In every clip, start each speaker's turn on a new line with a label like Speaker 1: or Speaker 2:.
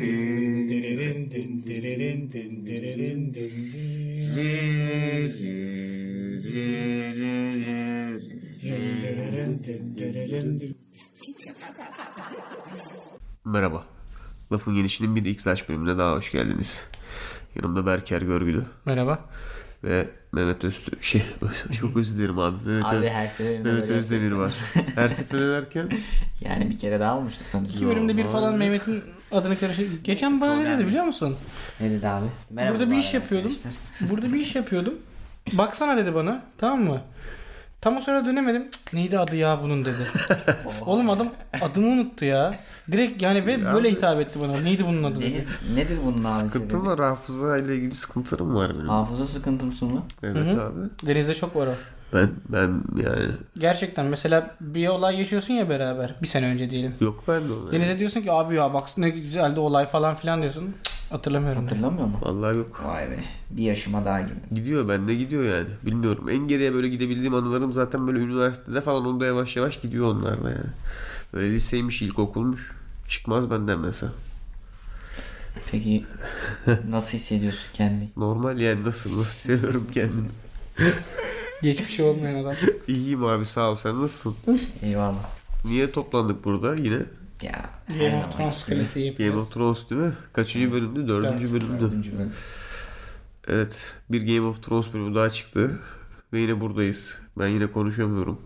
Speaker 1: Dererin din dererin din dererin din din. Din dererin din dererin din.
Speaker 2: Merhaba. Lafın Gelişi'nin bir X-Lash bölümüne daha hoş geldiniz. Yanımda Berker Görgülü
Speaker 3: Merhaba.
Speaker 2: ve Mehmet Öztü... Şey, çok özür dilerim abi. Mehmet,
Speaker 4: Abi
Speaker 2: Ö-
Speaker 4: her sene benim
Speaker 2: Mehmet
Speaker 4: böyle
Speaker 2: Özdemir
Speaker 4: yapıyorum.
Speaker 2: var. Her seferinde derken
Speaker 4: Yani bir kere daha olmuştu sanırım.
Speaker 3: İki bölümde bir falan Mehmet'in adını karıştır. Geçen bana ne dedi biliyor musun?
Speaker 4: Ne dedi abi? Merhaba
Speaker 3: Burada
Speaker 4: bu
Speaker 3: bir
Speaker 4: arada
Speaker 3: iş yapıyordum.
Speaker 4: arkadaşlar.
Speaker 3: Burada bir iş yapıyordum. Baksana dedi bana. Tamam mı? Tam o sırada dönemedim. Cık, Neydi adı ya bunun dedi. Oğlum adam adımı unuttu ya. Direkt yani ve böyle hitap etti bana. Neydi bunun adı dedi.
Speaker 4: Deniz nedir bunun abi
Speaker 2: sıkıntım
Speaker 4: sebebi?
Speaker 2: var. Hafıza ile ilgili sıkıntılarım var benim.
Speaker 4: Hafıza sıkıntısı mı?
Speaker 2: Evet abi.
Speaker 3: Deniz'de çok var o.
Speaker 2: Ben ben yani
Speaker 3: Gerçekten mesela bir olay yaşıyorsun ya beraber. Bir sene önce diyelim.
Speaker 2: yok ben de onu.
Speaker 3: Deniz'e diyorsun ki abi ya bak ne güzeldi olay falan filan diyorsun. Cık, Hatırlamıyorum.
Speaker 4: Hatırlamıyor mu?
Speaker 2: Vallahi yok.
Speaker 4: Vay be. Bir yaşıma daha girdim.
Speaker 2: Gidiyor ben de gidiyor yani. Bilmiyorum. En geriye böyle gidebildiğim anılarım zaten böyle üniversitede falan onda yavaş yavaş gidiyor onlar da yani. Böyle liseymiş, ilkokulmuş. Çıkmaz benden mesela.
Speaker 4: Peki nasıl hissediyorsun kendini?
Speaker 2: Normal yani nasıl nasıl hissediyorum kendimi.
Speaker 3: Geçmişi olmayan adam.
Speaker 2: İyiyim abi sağ ol sen nasılsın?
Speaker 4: Eyvallah.
Speaker 2: Niye toplandık burada yine?
Speaker 4: Ya her
Speaker 3: Game of
Speaker 4: zaman.
Speaker 3: Thrones kalesi
Speaker 2: Game
Speaker 3: yapıyoruz.
Speaker 2: of Thrones değil mi? Kaçıncı bölümdü? Dördüncü bölümdü.
Speaker 4: Dördüncü bölüm.
Speaker 2: Evet bir Game of Thrones bölümü daha çıktı. Ve yine buradayız. Ben yine konuşamıyorum.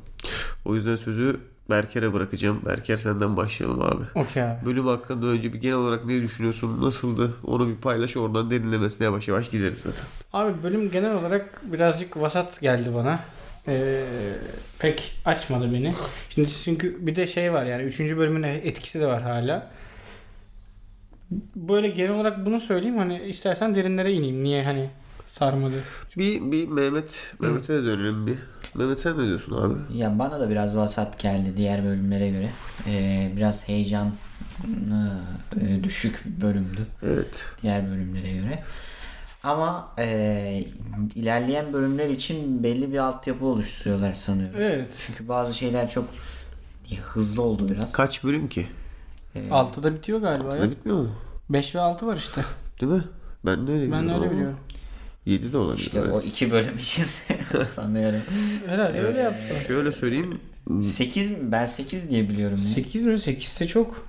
Speaker 2: O yüzden sözü Berker'e bırakacağım. Berker senden başlayalım abi.
Speaker 3: Okey abi.
Speaker 2: Bölüm hakkında önce bir genel olarak ne düşünüyorsun? Nasıldı? Onu bir paylaş oradan derinlemesine yavaş yavaş gideriz zaten.
Speaker 3: Abi bölüm genel olarak birazcık vasat geldi bana. Ee, pek açmadı beni. Şimdi çünkü bir de şey var yani 3. bölümün etkisi de var hala. Böyle genel olarak bunu söyleyeyim hani istersen derinlere ineyim. Niye hani sarmadı?
Speaker 2: Bir, bir Mehmet, Mehmet'e de dönelim bir. Mehmet sen ne diyorsun abi?
Speaker 4: Ya bana da biraz vasat geldi diğer bölümlere göre. Ee, biraz heyecan e, düşük bir bölümdü.
Speaker 2: Evet.
Speaker 4: diğer bölümlere göre. Ama eee, ilerleyen bölümler için belli bir altyapı oluşturuyorlar sanıyorum.
Speaker 3: Evet.
Speaker 4: Çünkü bazı şeyler çok hızlı oldu biraz.
Speaker 2: Kaç bölüm ki?
Speaker 3: 6'da bitiyor galiba ya.
Speaker 2: Ne bitmiyor mu?
Speaker 3: 5 ve 6 var işte.
Speaker 2: Değil mi? Ben de öyle biliyorum.
Speaker 3: Ben de öyle
Speaker 2: ama
Speaker 3: biliyorum.
Speaker 2: 7 de olabilir.
Speaker 4: İşte
Speaker 2: evet.
Speaker 4: o iki bölüm için sanıyorum.
Speaker 3: Herhalde öyle yaptı.
Speaker 2: Şöyle söyleyeyim.
Speaker 4: 8 mi? Ben 8 diye biliyorum. ya.
Speaker 3: 8 mi? 8'se çok.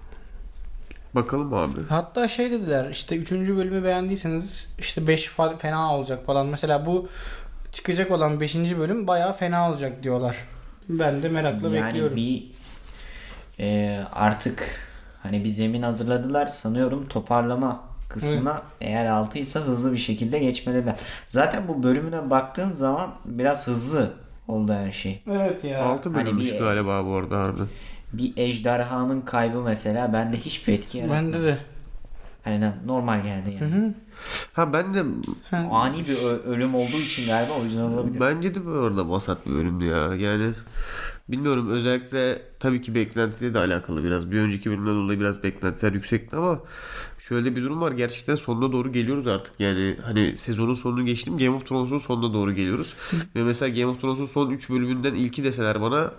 Speaker 2: Bakalım abi.
Speaker 3: Hatta şey dediler işte 3. bölümü beğendiyseniz işte 5 fena olacak falan. Mesela bu çıkacak olan 5. bölüm bayağı fena olacak diyorlar. Ben de merakla
Speaker 4: yani
Speaker 3: bekliyorum.
Speaker 4: bir eee, artık hani bir zemin hazırladılar sanıyorum toparlama kısmına eğer altıysa hızlı bir şekilde geçmeliler. Zaten bu bölümüne baktığım zaman biraz hızlı oldu her şey.
Speaker 3: Evet ya.
Speaker 2: 6
Speaker 4: Hani
Speaker 2: bölümmüş
Speaker 4: bir-
Speaker 2: galiba bu arada harbiden.
Speaker 4: Bir ejderhanın kaybı mesela bende hiçbir etki yaratmadı.
Speaker 3: Bende de.
Speaker 4: Hani ne- normal geldi yani.
Speaker 2: Ha ben de
Speaker 4: Ani bir ö- ölüm olduğu için galiba o yüzden olabilir.
Speaker 2: bence de bu arada vasat bir bölümdü ya. Yani bilmiyorum özellikle tabii ki beklentiyle de alakalı biraz. Bir önceki bölümden dolayı biraz beklentiler yüksekti ama şöyle bir durum var. Gerçekten sonuna doğru geliyoruz artık. Yani hani sezonun sonunu geçtim Game of Thrones'un sonuna doğru geliyoruz. Ve mesela Game of Thrones'un son 3 bölümünden ilki deseler bana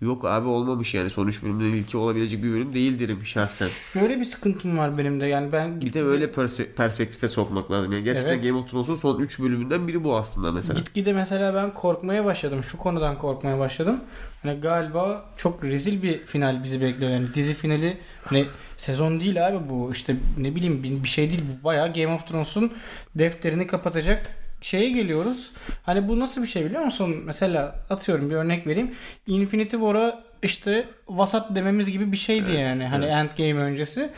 Speaker 2: Yok abi olmamış yani son 3 bölümden ilki olabilecek bir bölüm değil derim şahsen.
Speaker 3: Şöyle bir sıkıntım var benim de. Yani ben
Speaker 2: Bir de öyle perse- perspektife sokmak lazım. Yani gerçekten
Speaker 3: Evet.
Speaker 2: Game of Thrones'un son 3 bölümünden biri bu aslında mesela.
Speaker 3: Gitgide mesela ben korkmaya başladım. Şu konudan korkmaya başladım. Hani galiba çok rezil bir final bizi bekliyor. Yani dizi finali hani sezon değil abi bu. İşte ne bileyim bir- bir şey değil. Bu bayağı Game of Thrones'un defterini kapatacak şeye geliyoruz. Hani bu nasıl bir şey biliyor musun? Mesela atıyorum bir örnek vereyim. Infinity War'a işte vasat dememiz gibi bir şeydi yani. Hani Endgame öncesi.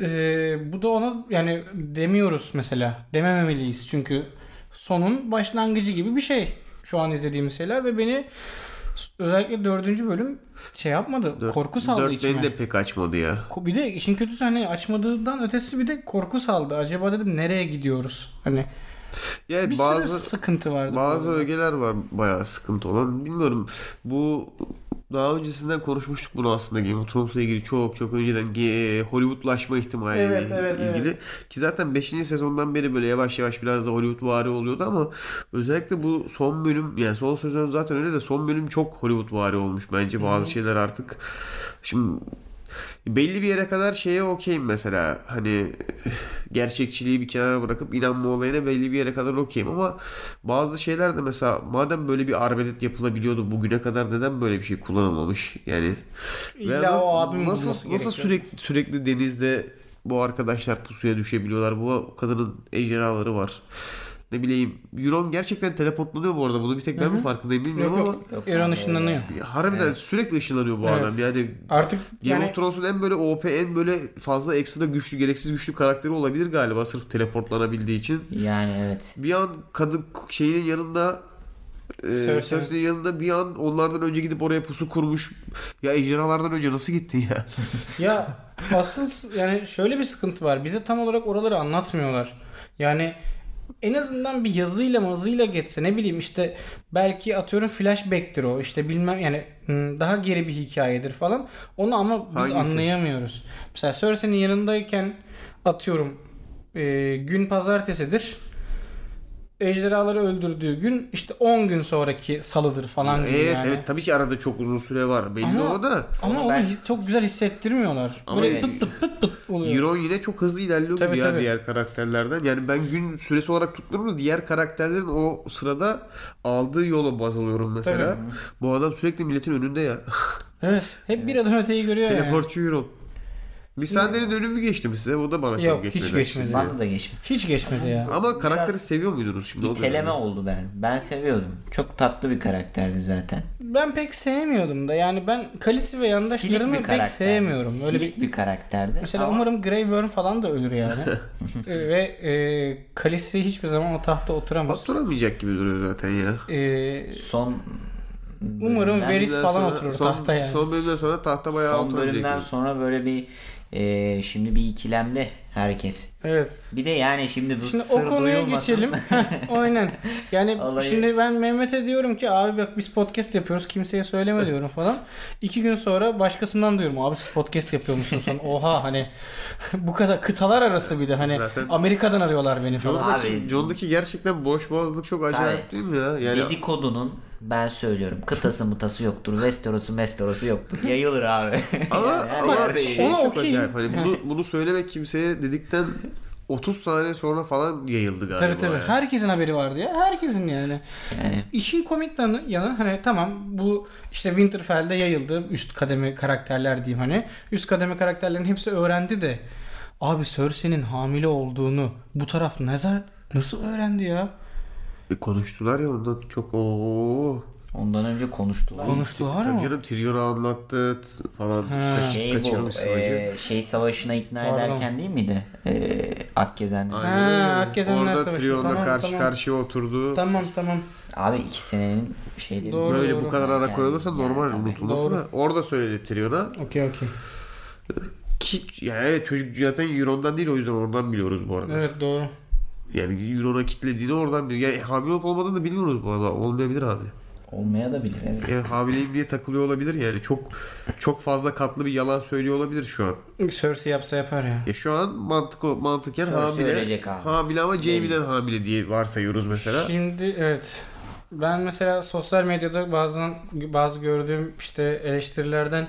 Speaker 3: Ee, bu da ona yani demiyoruz mesela. Demememeliyiz çünkü sonun başlangıcı gibi bir şey. Şu an izlediğimiz şeyler ve beni özellikle dördüncü bölüm şey yapmadı.
Speaker 2: Dört-
Speaker 3: korku saldı
Speaker 2: dört
Speaker 3: içime.
Speaker 2: beni de pek açmadı ya.
Speaker 3: Ko- Bir de işin kötüsü hani açmadığından ötesi bir de korku saldı. Acaba dedim nereye gidiyoruz? Hani
Speaker 2: Ya
Speaker 3: bir sürü
Speaker 2: bazı
Speaker 3: sıkıntı vardı. bu
Speaker 2: bazı
Speaker 3: arada.
Speaker 2: ögeler var bayağı sıkıntı olan. Bilmiyorum bu daha öncesinden konuşmuştuk bunu aslında Game of Thrones'la ilgili çok çok önceden ge- Hollywoodlaşma ihtimaliyle
Speaker 3: Evet, evet,
Speaker 2: Hani ilgili. Ki zaten 5. sezondan beri böyle yavaş yavaş biraz da Hollywood vari oluyordu ama özellikle bu son bölüm yani son sezon zaten öyle de son bölüm çok Hollywood vari olmuş bence bazı şeyler artık. Şimdi belli bir yere kadar şeye okeyim mesela hani gerçekçiliği bir kenara bırakıp inanma olayına belli bir yere kadar okeyim ama bazı şeyler de mesela madem böyle bir arbedet yapılabiliyordu bugüne kadar neden böyle bir şey kullanılmamış yani
Speaker 3: İlla
Speaker 2: Veya
Speaker 3: o abimin
Speaker 2: nasıl nasıl
Speaker 3: bulması gerekiyor.
Speaker 2: sürekli sürekli denizde bu arkadaşlar pusuya düşebiliyorlar bu kadının ejderhaları var ne bileyim Euron gerçekten teleportlanıyor bu arada bunu bir tek ben mi farkındayım bilmiyorum
Speaker 3: Yok
Speaker 2: ama
Speaker 3: yok. Euron ışınlanıyor.
Speaker 2: harbiden sürekli ışınlanıyor bu
Speaker 3: Evet.
Speaker 2: adam yani
Speaker 3: Artık
Speaker 2: Game
Speaker 3: yani
Speaker 2: of Thrones'un en böyle OP en böyle fazla ekstra güçlü gereksiz güçlü karakteri olabilir galiba sırf teleportlanabildiği için.
Speaker 4: Yani evet.
Speaker 2: Bir an kadın şeyinin yanında e,
Speaker 3: Cersei'nin.
Speaker 2: Cersei'nin yanında bir an onlardan önce gidip oraya pusu kurmuş. Ya ejderhalardan önce nasıl gitti ya?
Speaker 3: ya asıl s- yani şöyle bir sıkıntı var. Bize tam olarak oraları anlatmıyorlar. Yani en azından bir yazıyla mazıyla geçse ne bileyim işte belki atıyorum flashback'tir o işte bilmem yani hmm, daha geri bir hikayedir falan. Onu ama biz
Speaker 2: Hangisi?
Speaker 3: anlayamıyoruz. Mesela Cersei'nin yanındayken atıyorum e, gün pazartesidir. Ejderhaları öldürdüğü gün işte 10 gün sonraki salıdır falan gibi
Speaker 2: evet
Speaker 3: yani.
Speaker 2: evet tabii ki arada çok uzun süre var. Belli
Speaker 3: Ama-
Speaker 2: o da.
Speaker 3: Ama
Speaker 4: Onu
Speaker 3: onu
Speaker 4: ben-
Speaker 3: hi- çok güzel hissettirmiyorlar.
Speaker 2: Ama
Speaker 3: Böyle
Speaker 2: yani-
Speaker 3: pıt pıt pıt pıt oluyor.
Speaker 2: Euron yine çok hızlı ilerliyor
Speaker 3: Tabii,
Speaker 2: gibi ya
Speaker 3: tabii.
Speaker 2: diğer karakterlerden. Yani ben gün süresi olarak tuttum da diğer karakterlerin o sırada aldığı yola baz alıyorum mesela. Bu adam sürekli milletin önünde ya.
Speaker 3: Evet. Hep bir adım öteyi görüyor yani.
Speaker 2: Teleportçu Euron. Bir sahnenin önümü geçti mi size? O da bana
Speaker 3: Yok,
Speaker 2: çok geçmedi.
Speaker 3: hiç geçmedi.
Speaker 2: açıkçası.
Speaker 4: Bana da geçmiş.
Speaker 3: Hiç geçmedi ya.
Speaker 2: Ama karakteri
Speaker 4: Biraz
Speaker 2: seviyor muydunuz şimdi? O da
Speaker 4: İteleme
Speaker 2: önemli.
Speaker 4: oldu ben. Ben seviyordum. Çok tatlı bir karakterdi zaten.
Speaker 3: Ben pek sevmiyordum da yani ben Kalisi ve
Speaker 4: Silik bir
Speaker 3: yandaşlarını pek
Speaker 4: karakterdi.
Speaker 3: sevmiyorum. Öyle bir...
Speaker 4: Silik bir karakterdi.
Speaker 3: Mesela
Speaker 4: Ama
Speaker 3: umarım Grey Worm falan da ölür yani. Ee, ve e, Kalisi hiçbir zaman o tahta oturamaz.
Speaker 2: Oturamayacak gibi duruyor zaten ya.
Speaker 3: Ee,
Speaker 4: son
Speaker 3: umarım
Speaker 4: bölümden-
Speaker 3: Veris falan
Speaker 2: Sonra-
Speaker 3: oturur
Speaker 2: son,
Speaker 3: tahta yani.
Speaker 2: Son bölümden sonra tahta bayağı
Speaker 4: son bölümden
Speaker 2: oturabilecek.
Speaker 4: sonra böyle bir e, şimdi bir ikilemde herkes.
Speaker 3: Evet.
Speaker 4: Bir de yani şimdi bu
Speaker 3: Şimdi
Speaker 4: sır
Speaker 3: o konuya
Speaker 4: duyulmasın.
Speaker 3: geçelim. Aynen. Yani
Speaker 4: Olayı-
Speaker 3: şimdi ben Mehmet'e diyorum ki abi bak biz podcast yapıyoruz kimseye söyleme diyorum falan. İki gün sonra başkasından diyorum abi siz podcast yapıyormuşsunuz falan. Oha hani bu kadar kıtalar arası bir de hani
Speaker 2: Zaten-
Speaker 3: Amerika'dan arıyorlar beni falan.
Speaker 2: John'daki,
Speaker 4: Abi-
Speaker 2: John'daki Şey, gerçekten boş boğazlık çok acayip
Speaker 4: Tabii.
Speaker 2: değil mi ya? Yani
Speaker 4: Dedikodunun ben söylüyorum kıtası mıtası yoktur. Westeros'u Mesteros'u yoktur. Yayılır abi.
Speaker 2: Ama,
Speaker 4: Yani her
Speaker 2: ama
Speaker 4: yerde
Speaker 2: şey
Speaker 4: yayılır.
Speaker 3: Ona
Speaker 2: çok
Speaker 3: okeyim.
Speaker 2: acayip. Hani bunu, bunu söylemek kimseye dedikten 30 saniye sonra falan yayıldı galiba.
Speaker 3: Tabii tabii.
Speaker 2: yani.
Speaker 3: Herkesin haberi vardı ya. Herkesin yani.
Speaker 4: Yani
Speaker 3: İşin komik yanı, yanı hani tamam bu işte Winterfell'de yayıldı üst kademe karakterler diyeyim hani. Üst kademe karakterlerin hepsi öğrendi de abi Cersei'nin hamile olduğunu bu taraf nazar nasıl öğrendi ya?
Speaker 2: E, konuştular ya ondan çok ooo.
Speaker 4: ondan önce konuştular.
Speaker 3: Konuştular
Speaker 2: Tabii
Speaker 3: mı?
Speaker 2: canım Tyrion'a anlattı t- falan.
Speaker 3: Ha.
Speaker 2: Kaç-
Speaker 4: şey bu
Speaker 2: kaçırmış sılacı.
Speaker 4: e, şey savaşına ikna
Speaker 3: Pardon.
Speaker 4: ederken değil miydi? E, Akgezen.
Speaker 2: Aynen
Speaker 3: Ha,
Speaker 2: öyle.
Speaker 3: Akkezenler
Speaker 2: Orada
Speaker 3: Savaşı.
Speaker 2: Tyrion'la
Speaker 3: Tamam,
Speaker 2: karşı
Speaker 3: tamam.
Speaker 2: karşıya oturdu.
Speaker 3: Tamam tamam.
Speaker 4: Abi iki senenin şeyleri.
Speaker 3: Doğru.
Speaker 2: Böyle
Speaker 3: doğru.
Speaker 2: bu kadar ara koyulursa
Speaker 4: Yani
Speaker 2: normal
Speaker 4: tabii.
Speaker 2: unutulması
Speaker 3: Doğru.
Speaker 2: da. Orada söyledi Tyrion'a.
Speaker 3: Okey okey.
Speaker 2: Ki yani evet çocuk zaten Euron'dan değil o yüzden oradan biliyoruz bu arada.
Speaker 3: Evet doğru.
Speaker 2: Yani Euron'a kitlediğini oradan biliyoruz. Yani hamile olup olmadığını da bilmiyoruz bu arada. Olmayabilir hamile.
Speaker 4: Olmaya da bilir evet.
Speaker 2: Yani hamileyim diye takılıyor olabilir yani. Çok çok fazla katlı bir yalan söylüyor olabilir şu an.
Speaker 3: Cersei yapsa yapar ya.
Speaker 2: Ya şu an mantık o- mantıken
Speaker 4: Cersei
Speaker 2: hamile.
Speaker 4: ölecek abi.
Speaker 2: Hamile ama Jaime'den hamile diye varsayıyoruz mesela.
Speaker 3: Şimdi evet. Ben mesela sosyal medyada bazen bazı gördüğüm işte eleştirilerden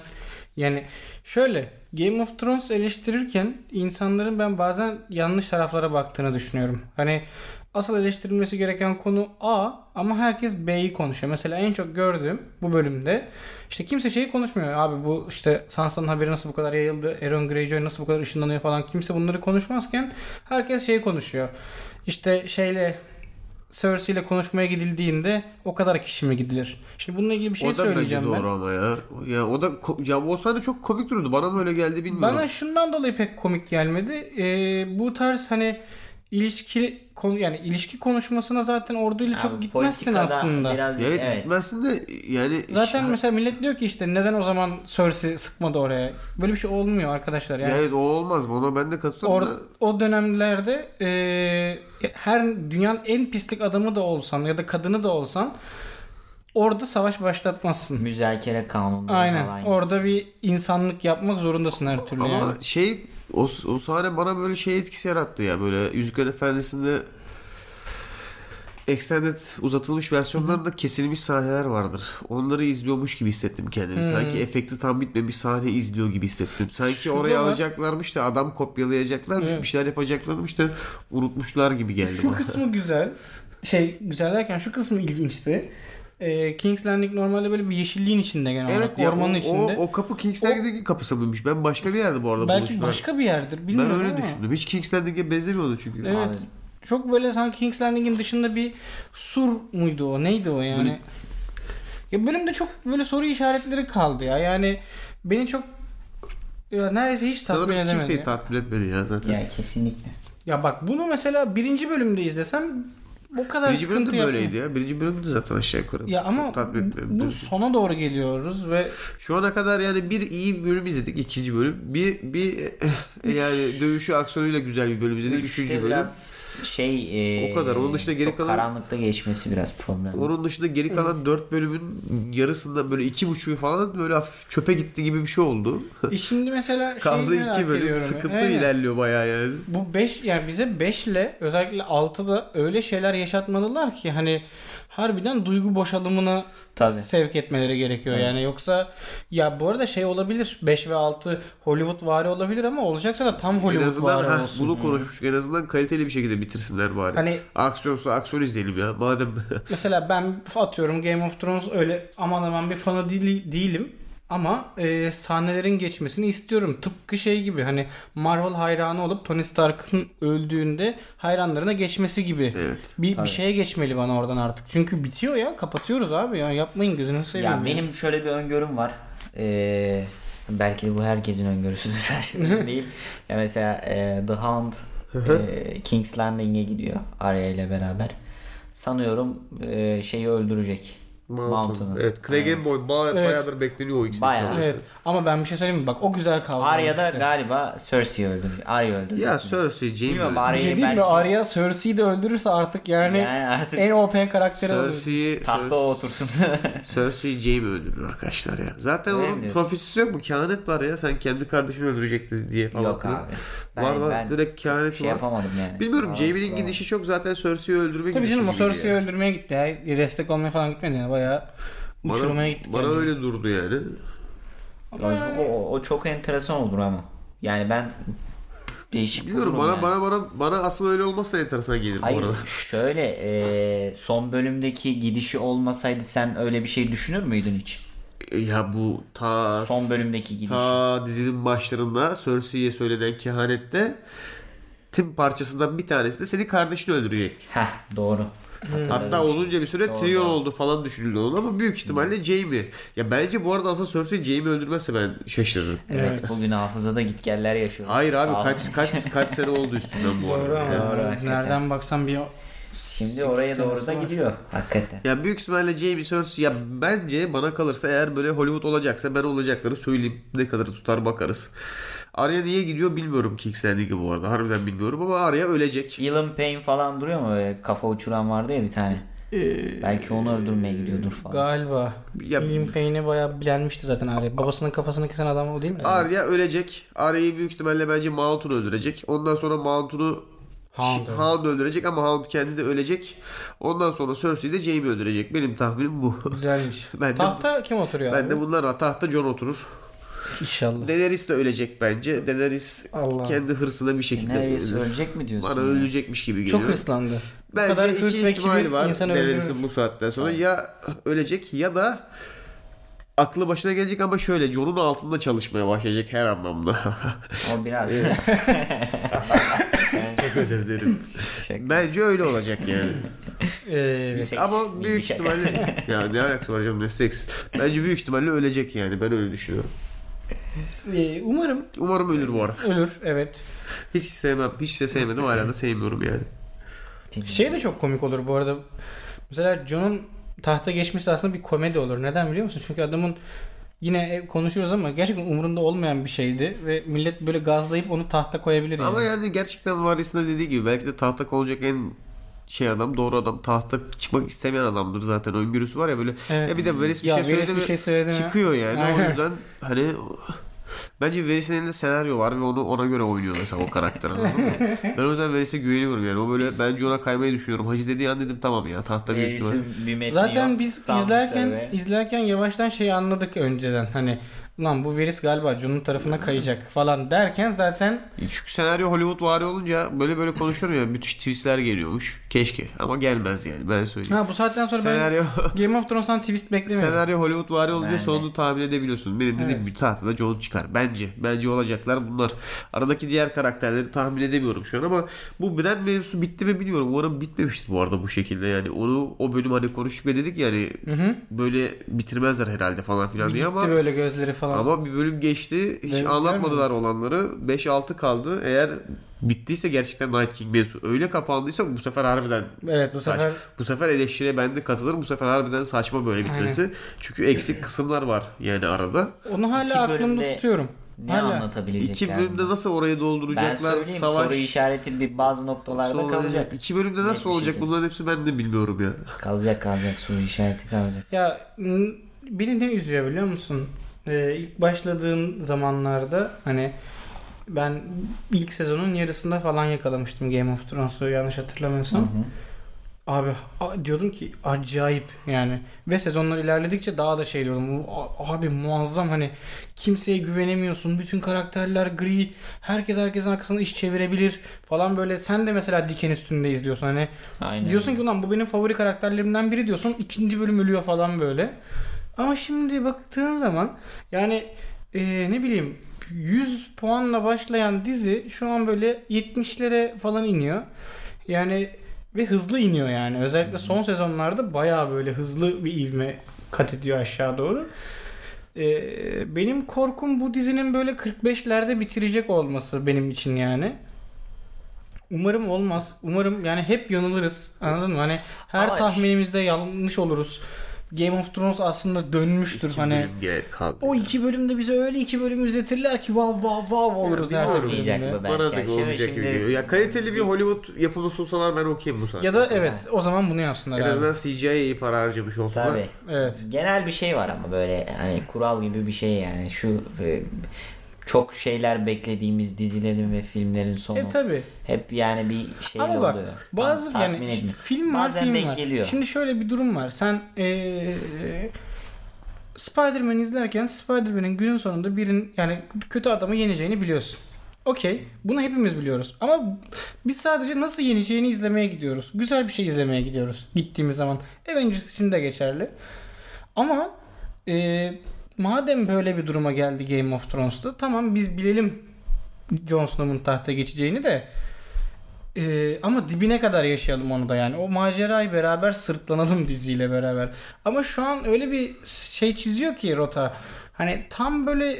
Speaker 3: yani şöyle Game of Thrones eleştirirken insanların ben bazen yanlış taraflara baktığını düşünüyorum. Hani asıl eleştirilmesi gereken konu A ama herkes B'yi konuşuyor. Mesela en çok gördüğüm bu bölümde işte kimse şeyi konuşmuyor. Abi bu işte Sansa'nın haberi nasıl bu kadar yayıldı? Aaron Greyjoy nasıl bu kadar ışınlanıyor falan. Kimse bunları konuşmazken herkes şeyi konuşuyor. İşte şeyle Cersei ile konuşmaya gidildiğinde o kadar kişi mi gidilir? Şimdi bununla ilgili bir şey
Speaker 2: o da bence
Speaker 3: söyleyeceğim ben.
Speaker 2: doğru ama ya. Ya o da ko- ya o sahne çok komik durdu. Bana mı öyle geldi bilmiyorum.
Speaker 3: Bana şundan dolayı pek komik gelmedi. Ee, bu tarz hani ilişki konu yani ilişki konuşmasına zaten orduyla çok
Speaker 4: Abi,
Speaker 3: gitmezsin
Speaker 4: politikada
Speaker 3: aslında.
Speaker 4: Biraz,
Speaker 2: Ya evet,
Speaker 4: evet,
Speaker 2: gitmezsin de yani
Speaker 3: Zaten
Speaker 2: şah-
Speaker 3: mesela millet diyor ki işte neden o zaman Cersei sıkmadı oraya? Böyle bir şey olmuyor arkadaşlar.
Speaker 2: ya
Speaker 3: Yani
Speaker 2: evet, o olmaz. Ona ben de katılıyorum.
Speaker 3: Or,
Speaker 2: da.
Speaker 3: o dönemlerde ee, e, her dünyanın en pislik adamı da olsan ya da kadını da olsan orada savaş başlatmazsın.
Speaker 4: Müzakere kanunu
Speaker 3: Aynen. Orada bir insanlık yapmak zorundasın her türlü. yani.
Speaker 2: Ama şey o, o sahne bana böyle şey etkisi yarattı ya böyle Yüzükler Efendisi'nde extended uzatılmış versiyonlarında kesilmiş sahneler vardır. Onları izliyormuş gibi hissettim kendimi. Sanki efekti tam bitmemiş sahne izliyor gibi hissettim. Sanki
Speaker 3: Şurada
Speaker 2: oraya
Speaker 3: var.
Speaker 2: alacaklarmış da adam kopyalayacaklarmış,
Speaker 3: Evet.
Speaker 2: bir şeyler yapacaklarmış da unutmuşlar gibi geldi
Speaker 3: Şu
Speaker 2: bana.
Speaker 3: kısmı güzel. Şey güzel derken şu kısmı ilginçti. Ee, King's Landing normalde böyle bir yeşilliğin içinde genel
Speaker 2: Evet
Speaker 3: olarak.
Speaker 2: ya,
Speaker 3: ormanın
Speaker 2: o,
Speaker 3: içinde.
Speaker 2: O, o kapı King's Landing'in kapısı mıymış? Ben başka bir yerde bu arada
Speaker 3: Belki
Speaker 2: bulmuştum.
Speaker 3: başka bir yerdir.
Speaker 2: ben
Speaker 3: Bilmiyorum
Speaker 2: öyle
Speaker 3: ama.
Speaker 2: düşündüm. Hiç King's Landing'e benzemiyordu çünkü.
Speaker 3: Evet.
Speaker 4: Abi.
Speaker 3: Çok böyle sanki King's Landing'in dışında bir sur muydu o? Neydi o yani? Ya benim de çok böyle soru işaretleri kaldı ya. Yani beni çok ya neredeyse hiç tatmin
Speaker 2: Sanırım
Speaker 3: edemedi.
Speaker 2: kimseyi tatmin etmedi ya zaten.
Speaker 4: Ya kesinlikle.
Speaker 3: ya bak bunu mesela birinci bölümde izlesem bu kadar
Speaker 2: Birinci bölüm
Speaker 3: sıkıntı
Speaker 2: de
Speaker 3: yapmam.
Speaker 2: böyleydi ya. Birinci bölüm de zaten aşağı yukarı.
Speaker 3: Ya ama
Speaker 2: Çok tatmin etmedi.
Speaker 3: bu sona doğru geliyoruz ve
Speaker 2: Şu ana kadar yani bir iyi bölüm izledik. ikinci bölüm. Bir bir eh, yani dövüşü aksiyonuyla güzel bir bölüm izledik. Üçüncü
Speaker 4: Üçte
Speaker 2: bölüm.
Speaker 4: biraz şey e,
Speaker 2: O kadar. Onun dışında geri
Speaker 4: çok
Speaker 2: kalan-
Speaker 4: karanlıkta geçmesi biraz problem.
Speaker 2: Onun dışında geri kalan dört bölümün yarısından böyle iki buçuğu falan böyle hafif çöpe gitti gibi bir şey oldu.
Speaker 3: e şimdi mesela şeyi
Speaker 2: Kaldı
Speaker 3: merak
Speaker 2: iki bölüm.
Speaker 3: ediyorum.
Speaker 2: Sıkıntı
Speaker 3: Aynen.
Speaker 2: ilerliyor bayağı yani.
Speaker 3: bu 5 yani bize 5 ile özellikle 6'da öyle şeyler yaşatmadılar ki hani harbiden duygu boşalımına
Speaker 4: Tabii.
Speaker 3: sevk etmeleri gerekiyor yani yoksa ya bu arada şey olabilir 5 ve 6 Hollywood vari olabilir ama olacaksa da tam
Speaker 2: En
Speaker 3: Hollywood
Speaker 2: azından
Speaker 3: vari
Speaker 2: ha,
Speaker 3: olsun.
Speaker 2: bunu konuşmuştuk. En azından kaliteli bir şekilde bitirsinler bari.
Speaker 3: Hani-
Speaker 2: Aksiyonsa aksiyon izleyelim ya. Madem
Speaker 3: Mesela ben atıyorum Game of Thrones öyle aman aman bir fanı değil- değilim. Ama e, sahnelerin geçmesini istiyorum. Tıpkı şey gibi hani Marvel hayranı olup Tony Stark'ın öldüğünde hayranlarına geçmesi gibi.
Speaker 2: Evet.
Speaker 3: Bir, bir şeye geçmeli bana oradan artık. Çünkü bitiyor ya kapatıyoruz abi ya yapmayın gözünü seveyim.
Speaker 4: Ya benim şöyle bir öngörüm var. Ee, belki de bu herkesin öngörüsüdür her şey değil. Ya mesela e, The Hound e, King's Landing'e gidiyor Arya ile beraber. Sanıyorum e, şeyi öldürecek. Mountain'ı.
Speaker 2: Evet. Clegane Boy ba-
Speaker 3: Evet.
Speaker 2: bayağıdır bekleniyor o ikisinin
Speaker 4: Bayağı.
Speaker 2: kalması.
Speaker 3: Evet. Ama ben bir şey söyleyeyim mi? Bak o güzel kaldı.
Speaker 4: Arya da
Speaker 3: işte.
Speaker 4: galiba Cersei'yi öldürecek. Arya öldürecek.
Speaker 2: Ya Cersei,
Speaker 4: Bilmiyorum
Speaker 2: Jaime.
Speaker 3: Bir
Speaker 4: Arya'yı
Speaker 3: şey değil mi?
Speaker 4: belki-
Speaker 3: Arya Cersei'yi de öldürürse artık yani,
Speaker 4: Yani artık-
Speaker 3: en OP karakteri olur.
Speaker 2: Cersei'yi
Speaker 4: Tahta o otursun.
Speaker 2: Cersei Jaime öldürür arkadaşlar ya. Zaten
Speaker 4: Öyle mi
Speaker 2: onun
Speaker 4: diyorsun?
Speaker 2: profesisi yok mu? Kehanet var ya. Sen kendi kardeşini öldürecekti diye falan.
Speaker 4: Yok
Speaker 2: filan.
Speaker 4: abi.
Speaker 2: var var. Direkt kehanet
Speaker 4: şey
Speaker 2: var.
Speaker 4: yapamadım yani.
Speaker 2: Bilmiyorum.
Speaker 4: Var,
Speaker 2: Jaime'nin
Speaker 4: var.
Speaker 2: gidişi çok zaten Cersei'yi öldürmek
Speaker 3: Tabii
Speaker 2: gidişi
Speaker 3: canım o
Speaker 2: gibiydi
Speaker 3: Cersei'yi
Speaker 2: yani.
Speaker 3: öldürmeye gitti ya. Destek olmaya falan gitmedi yani. Bayağı
Speaker 2: Bana,
Speaker 3: uçurmaya gitti.
Speaker 2: bana
Speaker 3: yani.
Speaker 2: öyle durdu yani.
Speaker 4: Ya o, o- o çok enteresan olur ama. Yani ben değişik
Speaker 2: Bilmiyorum
Speaker 4: bulurum
Speaker 2: bana
Speaker 4: yani.
Speaker 2: bana bana bana asıl öyle olmazsa enteresan gelir bu
Speaker 4: Hayır
Speaker 2: arada.
Speaker 4: şöyle e, son bölümdeki gidişi olmasaydı sen öyle bir şey düşünür müydün hiç?
Speaker 2: Ya bu ta
Speaker 4: Son bölümdeki gidişi.
Speaker 2: ta dizinin başlarında Cersei'ye söylenen kehanette Tim parçasından bir tanesi de senin kardeşini öldürecek.
Speaker 4: Heh doğru.
Speaker 2: Hatta uzunca bir süre Tyrion oldu falan düşünüldü onun ama büyük ihtimalle Jaime. Ya bence bu arada aslında Cersei Jaime öldürmezse ben şaşırırım.
Speaker 4: Evet bugün hafızada gitgeller yaşıyoruz.
Speaker 2: Hayır abi
Speaker 4: Sağ
Speaker 2: kaç
Speaker 4: olun.
Speaker 2: kaç kaç sene oldu üstünden bu
Speaker 3: Doğru
Speaker 2: arada.
Speaker 3: ama
Speaker 2: Ya.
Speaker 4: Doğru,
Speaker 3: yani
Speaker 4: hakikaten.
Speaker 3: nereden baksan bir
Speaker 4: Şimdi oraya doğru da
Speaker 3: senesi var.
Speaker 4: gidiyor hakikaten.
Speaker 2: Ya büyük ihtimalle Jaime Cersei ya bence bana kalırsa eğer böyle Hollywood olacaksa ben olacakları söyleyeyim. Ne kadar tutar bakarız. Arya niye gidiyor bilmiyorum King's Landing'e bu arada. Harbiden bilmiyorum ama Arya ölecek.
Speaker 4: Elon Payne falan duruyor mu? Böyle Kafa uçuran vardı ya bir tane.
Speaker 3: Ee,
Speaker 4: Belki onu öldürmeye gidiyordur falan.
Speaker 3: galiba
Speaker 2: Ya-
Speaker 3: Liam Payne'e bayağı bilenmişti zaten Arya. Babasının kafasını kesen adam o değil mi?
Speaker 2: Arya ölecek. Arya'yı büyük ihtimalle bence Mount'un öldürecek. Ondan sonra Mount'unu
Speaker 3: Hound.
Speaker 2: Ş- Hound öldürecek ama Hound kendi de ölecek. Ondan sonra Cersei de Jaime öldürecek. Benim tahminim bu.
Speaker 3: Güzelmiş.
Speaker 2: Ben de-
Speaker 3: Tahta kim oturuyor
Speaker 2: ben
Speaker 3: abi?
Speaker 2: de bunlar tahta Jon oturur.
Speaker 3: İnşallah.
Speaker 2: Daenerys de ölecek bence. Daenerys
Speaker 3: Allah.
Speaker 2: kendi hırsına bir şekilde
Speaker 4: Neresi
Speaker 2: ölür.
Speaker 4: ölecek mi diyorsun?
Speaker 2: Bana
Speaker 4: ya?
Speaker 2: ölecekmiş gibi geliyor.
Speaker 3: Çok hırslandı. Bu
Speaker 2: Bence
Speaker 3: kadar hırs
Speaker 2: iki
Speaker 3: ve
Speaker 2: ihtimal
Speaker 3: kibir
Speaker 2: var
Speaker 3: insanı
Speaker 2: Daenerys'in
Speaker 3: öldürür.
Speaker 2: bu saatten sonra. Ya ölecek ya da aklı başına gelecek ama şöyle Jon'un altında çalışmaya başlayacak her anlamda.
Speaker 4: O biraz.
Speaker 2: Çok özür dilerim.
Speaker 4: Şaka.
Speaker 2: Bence öyle olacak yani.
Speaker 3: Ee, evet.
Speaker 2: ama büyük
Speaker 4: şaka.
Speaker 2: ihtimalle ya ne alakası var canım ne seks. Bence büyük ihtimalle ölecek yani ben öyle düşünüyorum.
Speaker 3: Ee, umarım
Speaker 2: Umarım ölür bu arada.
Speaker 3: ölür evet.
Speaker 2: Hiç sevmem. Hiç de sevmedim hala da sevmiyorum yani.
Speaker 3: Şey de çok komik olur bu arada. Mesela John'un tahta geçmesi aslında bir komedi olur. Neden biliyor musun? Çünkü adamın yine e, konuşuyoruz ama gerçekten umurunda olmayan bir şeydi ve millet böyle gazlayıp onu tahta koyabilir yani.
Speaker 2: Ama yani gerçekten varisinde dediği gibi belki de tahta konulacak en şey adam doğru adam tahta çıkmak istemeyen adamdır zaten öngörüsü var ya böyle
Speaker 3: Evet.
Speaker 2: ya bir de Veris bir
Speaker 3: Ya
Speaker 2: şey
Speaker 3: Veres
Speaker 2: söyledi
Speaker 3: bir
Speaker 2: mi
Speaker 3: şey söyledi mi?
Speaker 2: çıkıyor yani o
Speaker 3: Aynen.
Speaker 2: yüzden hani bence Veris'in elinde senaryo var ve onu ona göre oynuyor mesela o karakter anladın mı? ben o yüzden Veris'e güveniyorum yani o böyle bence ona kaymayı düşünüyorum Hacı dediği an dedim tamam ya tahta büyük ihtimal
Speaker 4: Reis'in bir metni
Speaker 3: Zaten
Speaker 4: yok.
Speaker 3: biz
Speaker 4: Salmışlar
Speaker 3: izlerken
Speaker 4: ve-
Speaker 3: izlerken yavaştan şeyi anladık önceden. Hani lan bu virüs galiba Jun'un tarafına kayacak falan derken zaten
Speaker 2: çünkü senaryo Hollywood vari olunca böyle böyle konuşuyorum ya müthiş twistler geliyormuş keşke ama gelmez yani ben söyleyeyim
Speaker 3: ha bu saatten sonra
Speaker 2: senaryo
Speaker 3: ben Game of Thrones'tan twist beklemiyorum.
Speaker 2: Senaryo Hollywood vari olunca
Speaker 4: Bence.
Speaker 2: sonunu tahmin edebiliyorsun. Benim dediğim bir tahtada John çıkar. Bence. Bence olacaklar bunlar. Aradaki diğer karakterleri tahmin edemiyorum şu an ama bu Brand mevzusu bitti mi bilmiyorum. Umarım bitmemiştir bu arada bu şekilde yani. Onu o bölüm hani konuştuk ve dedik yani böyle bitirmezler herhalde falan filan diye ama
Speaker 3: Gitti böyle gözleri falan.
Speaker 2: ama bir bölüm geçti. Hiç
Speaker 3: Ben-
Speaker 2: anlatmadılar olanları. 5-6 kaldı. Eğer bittiyse gerçekten Night King mevzusu öyle kapandıysa bu sefer harbiden
Speaker 3: evet bu
Speaker 2: Saç-
Speaker 3: sefer
Speaker 2: bu sefer eleştiriye ben de katılırım. Bu sefer harbiden saçma böyle bitmesi. Çünkü eksik kısımlar var yani arada.
Speaker 3: onu hala
Speaker 4: İki
Speaker 3: aklımda
Speaker 4: bölümde
Speaker 3: tutuyorum.
Speaker 4: Ne
Speaker 3: hala.
Speaker 4: anlatabilecekler?
Speaker 2: İki
Speaker 4: bunu?
Speaker 2: bölümde nasıl orayı
Speaker 4: ben
Speaker 2: dolduracaklar?
Speaker 4: söyleyeyim
Speaker 2: Savaş
Speaker 4: soru işareti bir bazı noktalarda
Speaker 2: sonra-
Speaker 4: kalacak.
Speaker 2: İki bölümde
Speaker 4: Net bir
Speaker 2: nasıl olacak?
Speaker 4: şekilde.
Speaker 2: Bunların hepsi ben de bilmiyorum ya.
Speaker 4: Kalacak kalacak soru işareti kalacak.
Speaker 3: Ya n- beni ne üzüyor biliyor musun? Ee, ilk başladığım zamanlarda hani ben ilk sezonun yarısında falan yakalamıştım Game of Thrones'u yanlış hatırlamıyorsam. Abi a- diyordum ki acayip yani ve sezonlar ilerledikçe daha da şey diyordum "A- abi muazzam hani kimseye güvenemiyorsun bütün karakterler gri herkes herkesin arkasına iş çevirebilir falan böyle sen de mesela diken üstünde izliyorsun hani
Speaker 4: Aynen.
Speaker 3: Diyorsun ki ulan bu benim favori karakterlerimden biri diyorsun. ikinci bölüm ölüyor falan böyle. Ama şimdi baktığın zaman yani e, ne bileyim 100 puanla başlayan dizi şu an böyle 70'lere falan iniyor. Yani ve hızlı iniyor yani. Özellikle son sezonlarda bayağı böyle hızlı bir ivme kat ediyor aşağı doğru. E, benim korkum bu dizinin böyle 45'lerde bitirecek olması benim için yani. Umarım olmaz. Umarım yani hep yanılırız. Anladın mı? Hani her
Speaker 4: Ama-
Speaker 3: tahminimizde yanlış oluruz. Game of Thrones aslında dönmüştür
Speaker 2: İki
Speaker 3: hani.
Speaker 2: bölüm gel- kaldı.
Speaker 3: O iki bölümde bize öyle iki bölüm izletirler ki vav vav vav oluruz her
Speaker 2: bilmiyorum.
Speaker 4: Olmayacak
Speaker 3: seferinde.
Speaker 4: bu
Speaker 2: Bana da
Speaker 4: belki. Şimdi-
Speaker 2: olmayacak gibi
Speaker 4: şimdi-
Speaker 2: geliyor. Ya kaliteli bir Hollywood yapımı sunsalar ben okeyim bu sefer.
Speaker 3: Ya da evet o zaman bunu yapsınlar
Speaker 2: en
Speaker 3: abi.
Speaker 2: azından CGI'ye iyi para harcamış olsunlar.
Speaker 4: Tabii.
Speaker 3: Evet.
Speaker 4: Genel bir şey var ama böyle hani kural gibi bir şey yani şu e, çok şeyler beklediğimiz dizilerin ve filmlerin sonu.
Speaker 3: E tabi.
Speaker 4: Hep yani bir şey
Speaker 3: Ama bak
Speaker 4: oluyor. Tam
Speaker 3: bazı
Speaker 4: tahmin
Speaker 3: yani
Speaker 4: etmiyor.
Speaker 3: film var
Speaker 4: Bazen
Speaker 3: film
Speaker 4: denk
Speaker 3: var.
Speaker 4: geliyor.
Speaker 3: Şimdi şöyle bir durum var. Sen eee Spider-Man izlerken Spider-Man'in günün sonunda birin yani kötü adamı yeneceğini biliyorsun. Okey. Bunu hepimiz biliyoruz. Ama biz sadece nasıl yeneceğini izlemeye gidiyoruz. Güzel bir şey izlemeye gidiyoruz gittiğimiz zaman. Avengers için de geçerli. Ama e, madem böyle bir duruma geldi Game of Thrones'ta tamam biz bilelim Jon Snow'un tahta geçeceğini de e, ama dibine kadar yaşayalım onu da yani. O macerayı beraber sırtlanalım diziyle beraber. Ama şu an öyle bir şey çiziyor ki rota. Hani tam böyle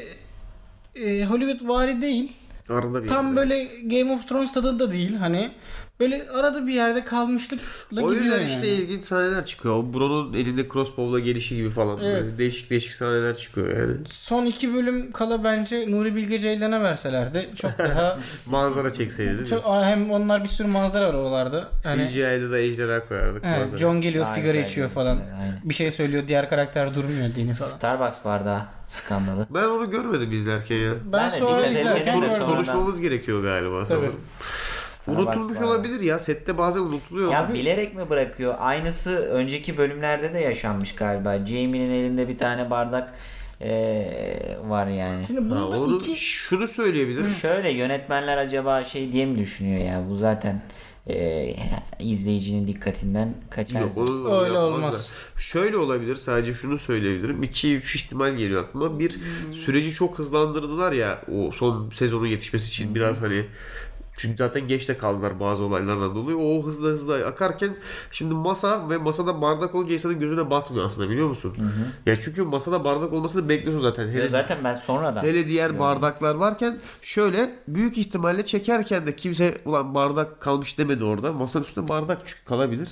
Speaker 3: e, Hollywood vari değil.
Speaker 2: Arada bir
Speaker 3: Tam
Speaker 2: yerde.
Speaker 3: böyle Game of Thrones tadı da değil hani. Böyle arada bir yerde kalmışlıkla
Speaker 2: O
Speaker 3: gidiyor
Speaker 2: yüzden
Speaker 3: yani.
Speaker 2: işte ilginç sahneler çıkıyor. O Bron'un elinde crossbow'la gelişi gibi falan.
Speaker 3: Evet.
Speaker 2: Böyle değişik değişik sahneler çıkıyor yani.
Speaker 3: Son iki bölüm kala bence Nuri Bilge Ceylan'a verselerdi çok daha
Speaker 2: Manzara çekseydi değil mi?
Speaker 3: çok hem onlar bir sürü manzara var oralarda. Hani
Speaker 2: CGI'de de ejderha koyardık.
Speaker 3: evet,
Speaker 2: manzara.
Speaker 3: John geliyor
Speaker 4: Daha
Speaker 3: sigara
Speaker 4: güzel
Speaker 3: içiyor
Speaker 4: görüntüler,
Speaker 3: falan.
Speaker 4: aynen.
Speaker 3: Bir şey söylüyor diğer karakter durmuyor dini falan.
Speaker 4: Starbucks bardağı skandalı.
Speaker 2: Ben onu görmedim izlerken ya.
Speaker 3: Ben,
Speaker 4: Ben de
Speaker 3: sonra
Speaker 4: dikkat
Speaker 3: izlerken
Speaker 4: etmedim de
Speaker 2: Konuş-
Speaker 3: gördüm.
Speaker 4: sonra-
Speaker 2: konuşmamız gerekiyor galiba
Speaker 3: Tabii.
Speaker 2: sanırım.
Speaker 4: Starbucks
Speaker 2: Unutulmuş
Speaker 4: bardağı.
Speaker 2: olabilir ya. Sette bazen unutuluyor.
Speaker 4: Ya bilerek mi bırakıyor? Aynısı önceki bölümlerde de yaşanmış galiba. Jamie'nin elinde bir tane bardak eee, var yani.
Speaker 3: Şimdi
Speaker 2: Ha,
Speaker 3: bunda
Speaker 2: onu,
Speaker 3: iki
Speaker 2: Şunu söyleyebilir.
Speaker 4: Şöyle yönetmenler acaba şey diye mi düşünüyor ya? Bu zaten eee, izleyicinin dikkatinden kaçar.
Speaker 2: Yok, onu- onu
Speaker 3: Öyle
Speaker 2: yapmazlar.
Speaker 3: olmaz.
Speaker 2: Şöyle olabilir sadece şunu söyleyebilirim. 2 3 ihtimal geliyor aklıma. Bir süreci çok hızlandırdılar ya o son sezonun yetişmesi için biraz hani çünkü zaten geç de kaldılar bazı olaylardan dolayı. O hızla hızla akarken şimdi masa ve masada bardak olunca insanın gözüne batmıyor aslında biliyor musun? Ya çünkü masada bardak olmasını bekliyorsun zaten. Hele
Speaker 4: Ya zaten ben sonradan
Speaker 2: Hele diğer bardaklar varken şöyle büyük ihtimalle çekerken de kimse ulan bardak kalmış demedi orada. Masanın üstünde bardak çünkü kalabilir.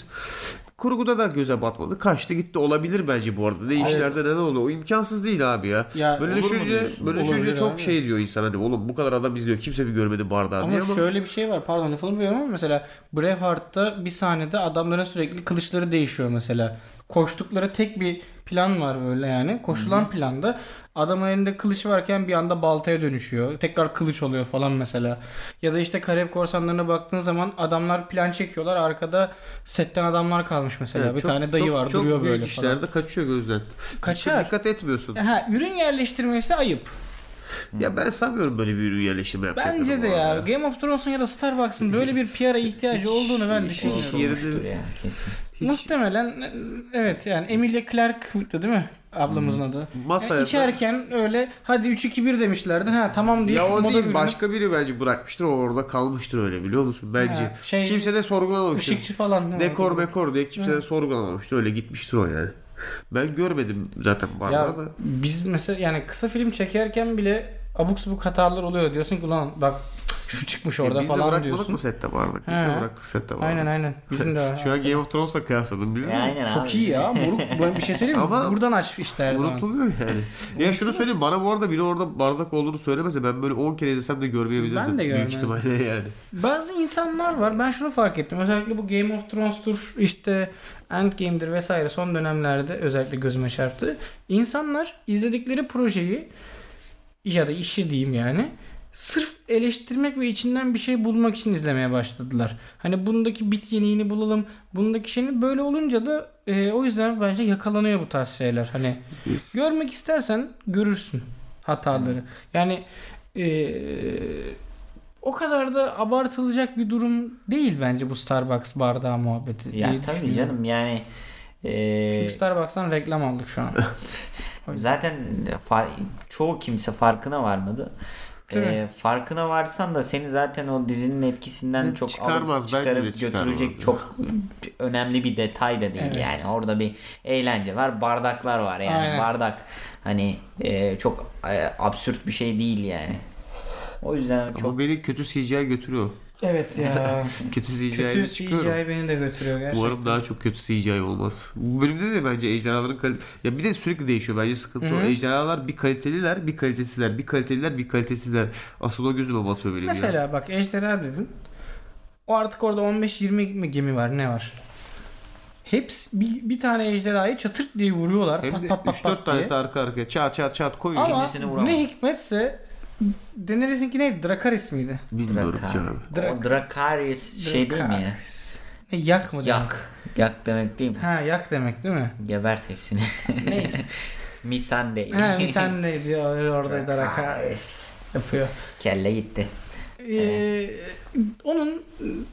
Speaker 2: Kurguda da göze batmadı. Kaçtı gitti. Olabilir bence bu arada. Ne işlerde neden oluyor? O imkansız değil abi ya.
Speaker 3: Ya
Speaker 2: böyle
Speaker 3: olur mu
Speaker 2: düşünce,
Speaker 3: diyorsun?
Speaker 2: böyle düşünce
Speaker 3: Olabilir
Speaker 2: çok
Speaker 3: abi.
Speaker 2: şey diyor insan. Hani oğlum bu kadar adam izliyor. Kimse bir görmedi bardağı
Speaker 3: Ama
Speaker 2: diye ama.
Speaker 3: şöyle bir şey var pardon lafını biliyorum ama mesela Braveheart'ta bir sahnede adamların sürekli kılıçları değişiyor mesela. Koştukları tek bir plan var böyle yani. Koşulan planda adamın elinde kılıç varken bir anda baltaya dönüşüyor. Tekrar kılıç oluyor falan mesela. Ya da işte Karayip Korsanları'na baktığın zaman adamlar plan çekiyorlar. Arkada setten adamlar kalmış mesela.
Speaker 2: Evet,
Speaker 3: bir
Speaker 2: çok-
Speaker 3: tane dayı
Speaker 2: çok-
Speaker 3: var
Speaker 2: çok
Speaker 3: duruyor
Speaker 2: büyük
Speaker 3: böyle
Speaker 2: işlerde
Speaker 3: falan.
Speaker 2: kaçıyor gözden.
Speaker 3: Kaçar. Eh.
Speaker 2: Dikkat etmiyorsun.
Speaker 3: Ha, ürün yerleştirmesi ayıp.
Speaker 2: Ya ben sanmıyorum böyle bir ürün yerleştirme yapacaklarını
Speaker 3: Bence de
Speaker 2: bu
Speaker 3: ya,
Speaker 2: arada.
Speaker 3: Game of Thrones'un ya da Starbucks'ın böyle bir PR'a ihtiyacı olduğunu ben
Speaker 2: hiç-
Speaker 3: düşünmüyorum.
Speaker 2: Yerinde-
Speaker 4: Olmuştur ya kesin.
Speaker 2: Hiç
Speaker 3: Muhtemelen e, evet yani Emilia Clarke'tı değil mi? Ablamızın adı.
Speaker 2: masaya
Speaker 3: Yani içerken öyle hadi 3 2 1 demişlerdi. Ha tamam diye
Speaker 2: Ya o
Speaker 3: moda
Speaker 2: değil
Speaker 3: bürünüp
Speaker 2: başka biri bence bırakmıştır o orada kalmıştır öyle biliyor musun bence.
Speaker 3: Ha, şey-
Speaker 2: kimse de sorgulamamıştır.
Speaker 3: ışıkçı falan. ne
Speaker 2: Dekor
Speaker 3: vardı?
Speaker 2: mekor diye kimse de sorgulamamıştır öyle gitmiştir o yani. Ben görmedim zaten
Speaker 3: Ya
Speaker 2: bardağı da.
Speaker 3: biz mesela yani kısa film çekerken bile abuk subuk hatalar oluyor. Diyorsun ki ulan bak şu çıkmış orada
Speaker 2: E, biz de
Speaker 3: falan
Speaker 2: bırakmadık
Speaker 3: diyorsun.
Speaker 2: mı sette bardak? Biz
Speaker 3: He.
Speaker 2: de bıraktık sette bardak.
Speaker 3: Aynen aynen. Bizim de var.
Speaker 2: Şu an Game of Thrones'la kıyasladım biliyor musun?
Speaker 4: Aynen abi.
Speaker 3: Çok iyi ya. Moruk ben bir şey söyleyeyim mi?
Speaker 2: Ama
Speaker 3: Buradan aç işte her zaman.
Speaker 2: Unutuluyor yani. ya şunu söyleyeyim bana bu arada biri orada bardak olduğunu söylemese ben böyle 10 kere izlesem de görmeyebilirdim.
Speaker 3: Ben de
Speaker 2: Büyük
Speaker 3: görmezdim.
Speaker 2: ihtimalle yani.
Speaker 3: Bazı insanlar var. Ben şunu fark ettim. Özellikle bu Game of Thrones'tur, işte Endgame'dir vesaire son dönemlerde özellikle gözüme çarptı. İnsanlar izledikleri projeyi ya da işi diyeyim yani sırf eleştirmek ve içinden bir şey bulmak için izlemeye başladılar. Hani bundaki bit yeniğini bulalım, bundaki şeyini böyle olunca da e, o yüzden bence yakalanıyor bu tarz şeyler. Hani görmek istersen görürsün hataları. Yani e, o kadar da abartılacak bir durum değil bence bu Starbucks bardağı muhabbeti.
Speaker 4: Ya
Speaker 3: diye
Speaker 4: tabii
Speaker 3: düşünüyorum.
Speaker 4: canım yani e,
Speaker 3: Çünkü Starbucks'tan reklam aldık şu an.
Speaker 4: zaten e, far- çoğu kimse farkına varmadı.
Speaker 3: Tabii.
Speaker 4: E, farkına varsan da seni zaten o dizinin etkisinden
Speaker 2: Hı,
Speaker 4: çok
Speaker 2: çıkarmaz,
Speaker 4: alıp
Speaker 2: bence de
Speaker 4: çıkarıp
Speaker 2: çıkarmaz.
Speaker 4: götürecek çok önemli bir detay da değil
Speaker 3: Evet.
Speaker 4: yani orada bir eğlence var bardaklar var yani
Speaker 3: Aynen.
Speaker 4: bardak hani e, çok e, absürt bir şey değil yani o yüzden çok
Speaker 2: Ama beni kötü CGI götürüyor.
Speaker 3: evet ya.
Speaker 2: Kötü CGI'ye
Speaker 3: Kötü
Speaker 2: çıkıyorum.
Speaker 3: CGI beni de götürüyor gerçekten.
Speaker 2: Umarım daha çok kötü CGI olmaz. Bu bölümde de bence ejderhaların kalite... Ya bir de sürekli değişiyor bence sıkıntı o. Ejderhalar bir kaliteliler, bir kalitesizler, bir kaliteliler, bir kalitesizler. Asıl o gözüme batıyor benim ya.
Speaker 3: Mesela bak ejderha dedim. O artık orada 15-20 mi gemi var ne var? Hepsi bir, bir tane ejderhayı çatırt diye vuruyorlar.
Speaker 2: Hem
Speaker 3: pat
Speaker 2: de
Speaker 3: pat pat
Speaker 2: 3-4
Speaker 3: pat diye.
Speaker 2: tanesi arka arkaya çat çat çat koyuyor.
Speaker 3: Ama
Speaker 4: İkincisini vuramam.
Speaker 3: ne hikmetse Daenerys'in ki neydi? Drakaris miydi?
Speaker 2: Bilmiyorum ki abi.
Speaker 4: o Dracarys şey değil mi ya?
Speaker 3: Drakaris. Ne, yak mı demek?
Speaker 4: Yak. Yak demek değil mi?
Speaker 3: Ha yak demek değil mi?
Speaker 4: Gebert hepsini.
Speaker 3: Neyse.
Speaker 4: Misandey.
Speaker 3: ha bir sen ne diyor orada
Speaker 4: Ah,
Speaker 3: Drakaris
Speaker 4: Dracarys.
Speaker 3: yapıyor.
Speaker 4: Kelle gitti.
Speaker 3: Ee, onun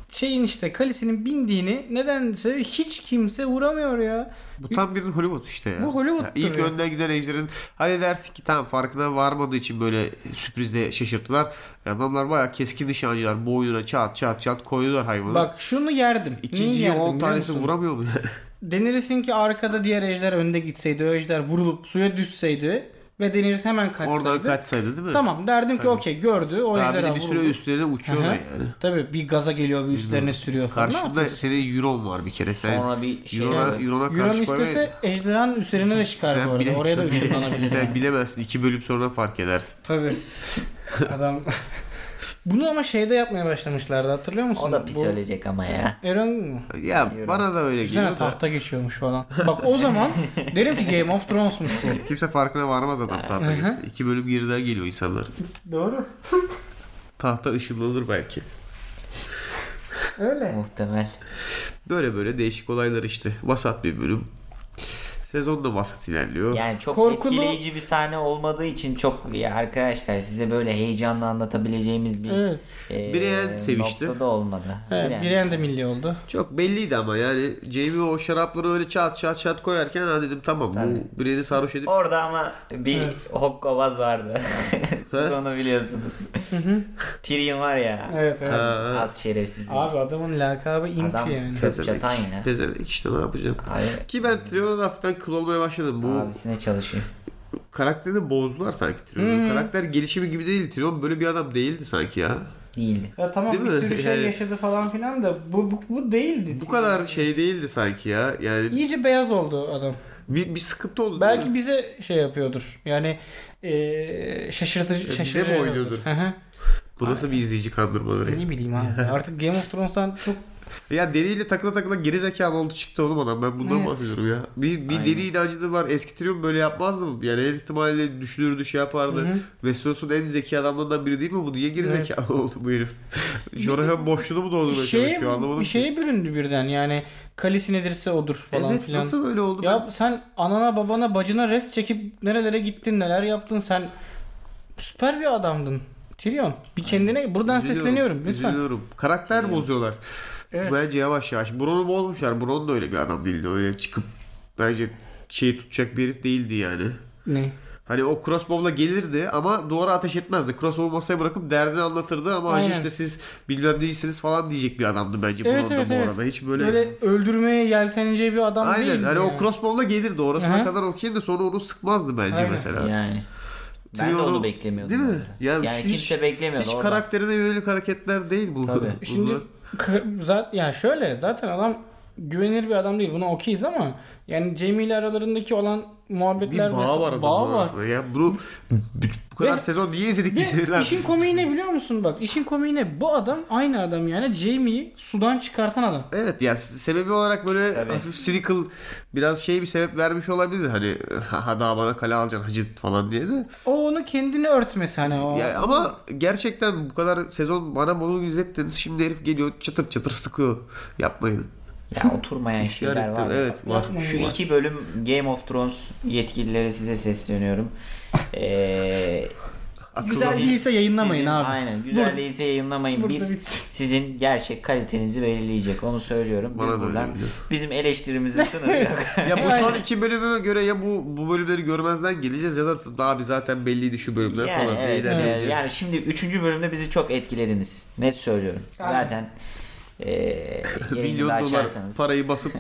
Speaker 3: şeyin işte kalesinin bindiğini nedense hiç kimse vuramıyor ya.
Speaker 2: Bu tam bir Hollywood işte ya.
Speaker 3: Bu Hollywood'dur
Speaker 2: ilk
Speaker 3: ya.
Speaker 2: önden giden ejderin hani dersin ki tamam farkına varmadığı için böyle sürprizle şaşırttılar. Adamlar bayağı keskin nişancılar. Boynuna çat çat çat koyuyorlar hayvanı.
Speaker 3: Bak şunu yerdim. Niye
Speaker 2: İkinciyi
Speaker 3: yerdim
Speaker 2: 10
Speaker 3: biliyor
Speaker 2: tanesi
Speaker 3: musun?
Speaker 2: vuramıyor mu yani?
Speaker 3: Denirsin ki arkada diğer ejder önde gitseydi, o ejder vurulup suya düşseydi ve Daenerys hemen kaçsaydı.
Speaker 2: Oradan kaçsaydı değil mi?
Speaker 3: Tamam derdim ki okey gördü o
Speaker 2: Daha bir
Speaker 3: ejderha
Speaker 2: de bir süre
Speaker 3: vuruldu.
Speaker 2: üstlerine uçuyor da
Speaker 3: Aha.
Speaker 2: yani.
Speaker 3: Tabii bir gaza geliyor bir üstlerine sürüyor falan.
Speaker 2: Karşında senin Euron var bir kere. Sen
Speaker 4: Sonra bir şey
Speaker 2: Euron'a,
Speaker 4: oldu.
Speaker 2: Euron'a karşı
Speaker 3: Euron
Speaker 2: koymaya-
Speaker 3: istese ejderhanın üzerine de çıkar bu
Speaker 2: Sen
Speaker 3: arada.
Speaker 2: bile-
Speaker 3: Oraya da ışınlanabilir. yani.
Speaker 2: Sen bilemezsin. İki bölüm sonra fark edersin.
Speaker 3: Tabii. Adam Bunu ama şeyde yapmaya başlamışlardı hatırlıyor musun?
Speaker 4: O da pis
Speaker 3: Bu-
Speaker 4: ölecek ama ya.
Speaker 3: Euron mu?
Speaker 2: Ya bana da öyle
Speaker 3: Üzerine
Speaker 2: geliyor da.
Speaker 3: tahta geçiyormuş falan. Bak o zaman derim ki Game of Thrones'muş bu.
Speaker 2: Kimse farkına varmaz adam tahta geçse. İki bölüm geriden geliyor insanlar.
Speaker 3: Doğru.
Speaker 2: Tahta ışınlanır belki.
Speaker 3: Öyle.
Speaker 4: Muhtemel.
Speaker 2: Böyle böyle değişik olaylar işte. Vasat bir bölüm. Sezon da vasat ilerliyor.
Speaker 4: Yani çok
Speaker 3: Korkulu-
Speaker 4: etkileyici bir sahne olmadığı için çok ya arkadaşlar size böyle heyecanla anlatabileceğimiz bir
Speaker 3: Evet.
Speaker 4: e,
Speaker 2: Brienne sevişti.
Speaker 4: noktada olmadı.
Speaker 3: Evet,
Speaker 4: Brienne.
Speaker 3: Brienne de milli oldu.
Speaker 2: Çok belliydi ama yani Jamie o şarapları öyle çat çat çat koyarken ha dedim tamam bu birini sarhoş edip
Speaker 4: Orada ama bir hokkabaz vardı. Siz onu biliyorsunuz. Tyrion var ya.
Speaker 3: Evet, evet.
Speaker 4: Az, az şerefsiz.
Speaker 3: Abi adamın lakabı imp
Speaker 4: Adam
Speaker 3: yani.
Speaker 4: çöp çatan yine.
Speaker 2: pezevenk işte ne yapacağım.
Speaker 4: Abi,
Speaker 2: Ki ben Trion'a laftan kıl olmaya başladım. Bu
Speaker 4: abisine çalışıyor.
Speaker 3: Hmm.
Speaker 2: karakterini bozdular sanki Trion'un. Karakter gelişimi gibi değil. Trion böyle bir adam değildi sanki ya.
Speaker 4: Değildi.
Speaker 3: Ya tamam
Speaker 2: Değil
Speaker 3: bir
Speaker 2: mi?
Speaker 3: sürü şey
Speaker 2: Yani-
Speaker 3: yaşadı falan filan da bu bu, bu değildi.
Speaker 2: Bu kadar şey değildi sanki ya. Yani
Speaker 3: İyice beyaz oldu adam.
Speaker 2: bir, bir sıkıntı oldu.
Speaker 3: Belki bize şey yapıyordur. Yani eee şaşırtıcı
Speaker 2: bize
Speaker 3: şaşırtıcı.
Speaker 2: mi
Speaker 3: yazıyordur.
Speaker 2: oynuyordur?
Speaker 3: Hı hı.
Speaker 2: Bu nasıl bir izleyici kandırmaları?
Speaker 3: ne bileyim abi. Artık Game of Thrones'tan çok
Speaker 2: Ya deliyle takla takla geri zekalı oldu çıktı oğlum adam. Ben bundan
Speaker 3: Evet.
Speaker 2: bahsediyorum ya. Bir, bir
Speaker 4: Aynen.
Speaker 2: deli inancı da var. Eski Tyrion böyle yapmazdı mı? Yani her ihtimalle düşünürdü şey yapardı. Westeros'un en zeki adamlarından biri değil mi bu? Niye geri
Speaker 3: Evet.
Speaker 2: zekalı oldu bu herif? Jorahan boşluğunu mu doldurmaya
Speaker 3: şeye,
Speaker 2: çalışıyor anlamadım.
Speaker 3: Şey, bir
Speaker 2: ki.
Speaker 3: şeye büründü birden. Yani kalesi nedirse odur falan
Speaker 2: evet,
Speaker 3: filan.
Speaker 2: Nasıl böyle oldu?
Speaker 3: Ya sen anana babana bacına rest çekip nerelere gittin neler yaptın sen süper bir adamdın. Tyrion bir kendine buradan
Speaker 2: Üzülüyorum,
Speaker 3: sesleniyorum lütfen.
Speaker 2: üzülüyorum. Karakter bozuyorlar.
Speaker 3: Evet.
Speaker 2: Bence yavaş yavaş. Bron'u bozmuşlar. Bron da öyle bir adam değildi. Öyle çıkıp bence şeyi tutacak bir herif değildi yani.
Speaker 3: Ne?
Speaker 2: Hani o crossbow'la gelirdi ama duvara ateş etmezdi. Crossbow'u masaya bırakıp derdini anlatırdı ama hacı
Speaker 3: Aynen.
Speaker 2: işte siz bilmem neysiniz falan diyecek bir adamdı bence
Speaker 3: Evet,
Speaker 2: Bron'da
Speaker 3: evet,
Speaker 2: bu
Speaker 3: evet.
Speaker 2: arada. Hiç böyle...
Speaker 3: Böyle, öldürmeye yelteneceği bir adam
Speaker 2: Aynen.
Speaker 3: değil.
Speaker 2: hani o crossbow'la gelirdi. Orasına
Speaker 3: Aha.
Speaker 2: kadar okeydi. Sonra onu sıkmazdı bence
Speaker 3: Aynen.
Speaker 2: mesela.
Speaker 4: Yani. Ben de
Speaker 2: Triolo-
Speaker 4: onu beklemiyordum.
Speaker 2: Değil mi?
Speaker 4: bu arada. yani
Speaker 2: hiç-
Speaker 4: kimse beklemiyordu.
Speaker 2: Hiç
Speaker 4: orada.
Speaker 2: karakterine yönelik hareketler değil bu.
Speaker 4: Tabii.
Speaker 2: Bunlar.
Speaker 3: Şimdi zaten yani şöyle zaten adam güvenilir bir adam değil. Buna okeyiz ama yani Jamie ile aralarındaki olan
Speaker 2: bir
Speaker 3: muhabbetler
Speaker 2: bağ
Speaker 3: mesela-
Speaker 2: var adamın
Speaker 3: bağı var.
Speaker 2: arasında. Ya bunu bu kadar
Speaker 3: Ve-
Speaker 2: sezon niye izledik biz
Speaker 3: Ve
Speaker 2: herifler?
Speaker 3: işin komiği ne biliyor musun bak? işin komiği ne? Bu adam aynı adam yani Jamie'yi sudan çıkartan adam.
Speaker 2: Evet ya se- sebebi olarak böyle hafif cynical biraz şey bir sebep vermiş olabilir hani ha daha bana kale alacaksın hacı falan diye de.
Speaker 3: O onu kendini örtmesi hani o.
Speaker 2: Ya, ama gerçekten bu kadar sezon bana bunu izlettiniz şimdi herif geliyor çıtır çıtır sıkıyor yapmayın.
Speaker 4: Ya oturmayan
Speaker 2: İşler
Speaker 4: şeyler var. ya.
Speaker 2: evet var.
Speaker 4: Şu iki bölüm Game of Thrones yetkililere size sesleniyorum. Ee,
Speaker 2: Akıllı-
Speaker 3: Güzel değilse yayınlamayın
Speaker 4: sizin-
Speaker 3: abi.
Speaker 4: Aynen. Güzel
Speaker 3: Burada-
Speaker 4: değilse yayınlamayın.
Speaker 3: burada
Speaker 4: Bir,
Speaker 3: bitsin.
Speaker 4: sizin gerçek kalitenizi belirleyecek. Onu söylüyorum. Biz
Speaker 2: Bana da öyle
Speaker 4: buradan
Speaker 2: geliyor.
Speaker 4: bizim eleştirimizin sınırı yok.
Speaker 2: Ya bu son iki bölüme göre ya bu bu bölümleri görmezden geleceğiz ya da daha bir zaten belliydi şu bölümler
Speaker 4: yani,
Speaker 2: falan.
Speaker 4: evet,
Speaker 2: neyden
Speaker 4: evet.
Speaker 2: geleceğiz?
Speaker 4: yani şimdi 3. bölümde bizi çok etkilediniz. Net söylüyorum.
Speaker 3: Aynen.
Speaker 4: Zaten e, yayını da
Speaker 2: Milyon dolar
Speaker 4: açarsanız.
Speaker 2: parayı basıp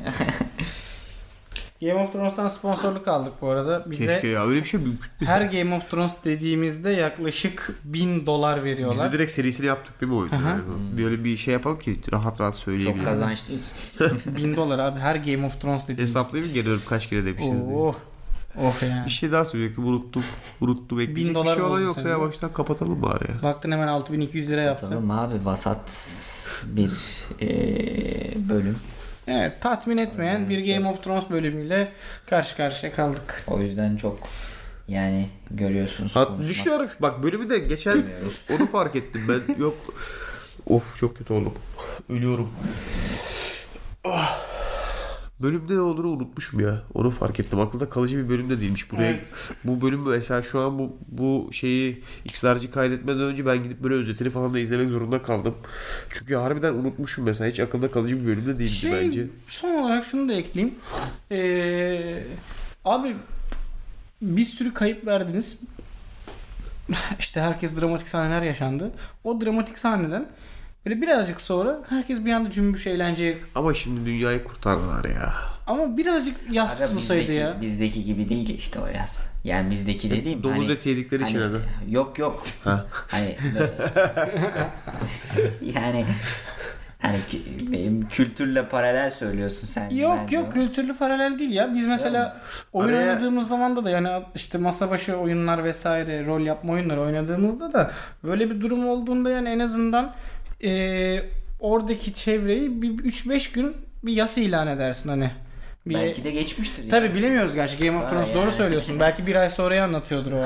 Speaker 3: Game of Thrones'tan sponsorluk aldık bu arada. Bize
Speaker 2: keşke ya öyle bir şey mümkün.
Speaker 3: her Game of Thrones dediğimizde yaklaşık 1000 dolar
Speaker 2: Biz
Speaker 3: veriyorlar.
Speaker 2: de direkt serisini yaptık değil mi oyunu?
Speaker 3: Aha.
Speaker 2: Yani böyle bir şey yapalım ki rahat rahat söyleyebilirim.
Speaker 4: Çok kazançlıyız.
Speaker 3: 1000 dolar abi her Game of Thrones dediğimiz.
Speaker 2: Hesaplayıp geliyorum kaç kere demişiz diye.
Speaker 3: Oh. Oh yani.
Speaker 2: şey Bir şey daha söyleyecektim unuttum. Unuttum ekleyecek bir
Speaker 3: dolar
Speaker 2: şey olan
Speaker 3: oldu
Speaker 2: yoksa
Speaker 3: senin.
Speaker 2: yavaştan kapatalım bari ya.
Speaker 3: Baktın hemen 6200 lira yaptı.
Speaker 4: Tamam abi vasat bir e, bölüm.
Speaker 3: Evet tatmin etmeyen bir Game of Thrones bölümüyle karşı karşıya kaldık.
Speaker 4: O yüzden çok yani görüyorsunuz.
Speaker 2: Hat,
Speaker 4: konuşmak
Speaker 2: düşünüyorum şu- bak bölümü de geçen
Speaker 4: istemiyoruz.
Speaker 2: onu fark ettim ben yok. Of çok kötü oldum. Ölüyorum. Ah. Bölümde ne olduğunu unutmuşum ya. Onu fark ettim. Aklımda kalıcı bir bölüm de değilmiş. Buraya
Speaker 3: Evet.
Speaker 2: bu bölüm mesela şu an bu bu şeyi XR'cı kaydetmeden önce ben gidip böyle özetini falan da izlemek zorunda kaldım. Çünkü harbiden unutmuşum mesela. Hiç aklımda kalıcı bir bölüm de değildi
Speaker 3: Şey,
Speaker 2: bence.
Speaker 3: Son olarak şunu da ekleyeyim. Ee, abi bir sürü kayıp verdiniz. İşte herkes dramatik sahneler yaşandı. O dramatik sahneden böyle birazcık sonra herkes bir anda cümbüş eğlenceye
Speaker 2: Ama şimdi dünyayı kurtardılar ya.
Speaker 3: ama birazcık yaz
Speaker 4: Abi
Speaker 3: tutulsaydı
Speaker 4: bizdeki,
Speaker 3: ya.
Speaker 4: bizdeki gibi değil işte o yaz. Yani bizdeki dediğim
Speaker 2: Domuz
Speaker 4: hani,
Speaker 2: eti yedikleri için
Speaker 4: hani-
Speaker 2: herhalde.
Speaker 4: Yok yok.
Speaker 2: Ha.
Speaker 4: Hani böyle- yani hani kü- benim kültürle paralel söylüyorsun sen.
Speaker 3: Yok
Speaker 4: Ben
Speaker 3: yok
Speaker 4: diyorum.
Speaker 3: kültürlü paralel değil ya. Biz mesela oyun
Speaker 2: Araya-
Speaker 3: oynadığımız zaman da yani işte masa başı oyunlar vesaire rol yapma oyunları oynadığımızda da böyle bir durum olduğunda yani en azından e, oradaki çevreyi bir 3-5 gün bir yas ilan edersin hani. Bir,
Speaker 4: Belki de geçmiştir.
Speaker 3: Tabi
Speaker 4: yani.
Speaker 3: bilemiyoruz gerçi Game of
Speaker 4: Ha,
Speaker 3: Thrones
Speaker 4: yani.
Speaker 3: doğru söylüyorsun. Belki bir ay sonraya anlatıyordur o.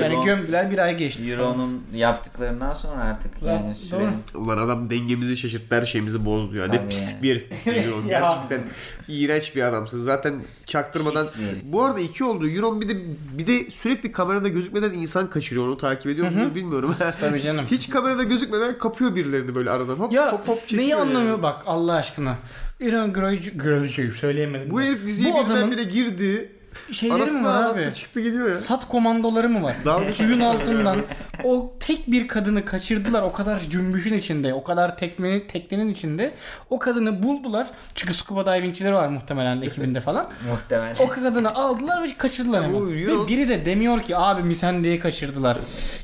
Speaker 3: yani
Speaker 4: Euro-
Speaker 3: gömdüler bir ay geçti. falan.
Speaker 4: Euro'nun yaptıklarından sonra artık
Speaker 3: Zaten-
Speaker 4: yani sürenin
Speaker 2: Ulan adam dengemizi şaşırttı her şeyimizi bozdu ya. Ne
Speaker 4: Tabii
Speaker 2: pislik
Speaker 4: yani.
Speaker 2: bir herif pislik Euron.
Speaker 3: Ya.
Speaker 2: Gerçekten iğrenç bir adamsın. Zaten çaktırmadan.
Speaker 4: Pis bir herif.
Speaker 2: Bu arada iki oldu. Euron bir de bir de sürekli kamerada gözükmeden insan kaçırıyor. Onu takip ediyor musunuz bilmiyorum.
Speaker 3: Tabii canım.
Speaker 2: Hiç kamerada gözükmeden kapıyor birilerini böyle aradan. Hop
Speaker 3: Ya
Speaker 2: hop hop çekiyor.
Speaker 3: neyi
Speaker 2: yani.
Speaker 3: anlamıyor bak Allah aşkına. Iron Greyjoy Greyjoy söyleyemedim.
Speaker 2: Bu
Speaker 3: ben.
Speaker 2: herif diziye
Speaker 3: Bu
Speaker 2: birden
Speaker 3: adamın
Speaker 2: bire girdi.
Speaker 3: şeyleri mi
Speaker 2: Arasına
Speaker 3: var
Speaker 2: rahatla
Speaker 3: abi?
Speaker 2: çıktı gidiyor ya.
Speaker 3: Sat komandoları mı var?
Speaker 2: Dalga-
Speaker 3: Suyun altından o tek bir kadını kaçırdılar o kadar cümbüşün içinde, o kadar tekmenin teknenin içinde. O kadını buldular. Çünkü scuba divingçileri var muhtemelen ekibinde falan.
Speaker 4: muhtemelen.
Speaker 3: O kadını aldılar ve kaçırdılar
Speaker 2: Ya bu
Speaker 3: hemen.
Speaker 2: Euro-
Speaker 3: Ve biri de demiyor ki abi mi sen diye kaçırdılar.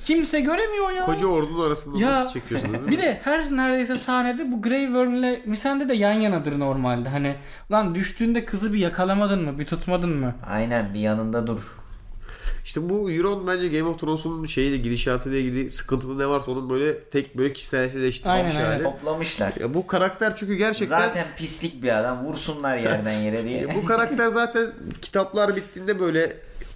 Speaker 3: Kimse göremiyor ya.
Speaker 2: Koca ordunun arasında
Speaker 3: Ya.
Speaker 2: nasıl çekiyorsun değil mi?
Speaker 3: Bir de her neredeyse sahnede bu Grey Worm'le Missandei de yan yanadır normalde. Hani lan düştüğünde kızı bir yakalamadın mı? Bir tutmadın mı?
Speaker 4: Aynen bir yanında dur.
Speaker 2: İşte bu Euron bence Game of Thrones'un şeyiyle gidişatıyla ilgili sıkıntılı ne varsa onun böyle tek böyle
Speaker 3: Aynen,
Speaker 2: kişiselleştirilmiş
Speaker 3: aynen.
Speaker 2: hali.
Speaker 4: Toplamışlar.
Speaker 2: Ya bu karakter çünkü gerçekten
Speaker 4: Zaten pislik bir adam. Vursunlar yerden yere diye.
Speaker 2: Ya bu karakter zaten kitaplar bittiğinde böyle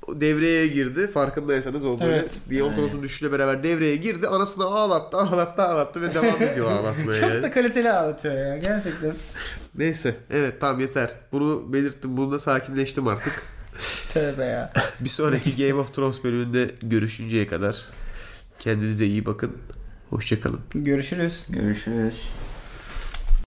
Speaker 2: devreye girdi. Farkındaysanız o böyle
Speaker 3: Evet.
Speaker 2: Game of Thrones'un düşüşüyle beraber devreye girdi. Anasını ağlattı, ağlattı, ağlattı ve devam ediyor ağlatmaya.
Speaker 3: Çok
Speaker 2: yani.
Speaker 3: da kaliteli ağlatıyor ya gerçekten.
Speaker 2: Neyse. Evet tamam yeter. Bunu belirttim. Bununla sakinleştim artık.
Speaker 3: Tövbe ya.
Speaker 2: Bir sonraki Game of Thrones bölümünde görüşünceye kadar kendinize iyi bakın. Hoşçakalın.
Speaker 3: Görüşürüz.
Speaker 4: Görüşürüz.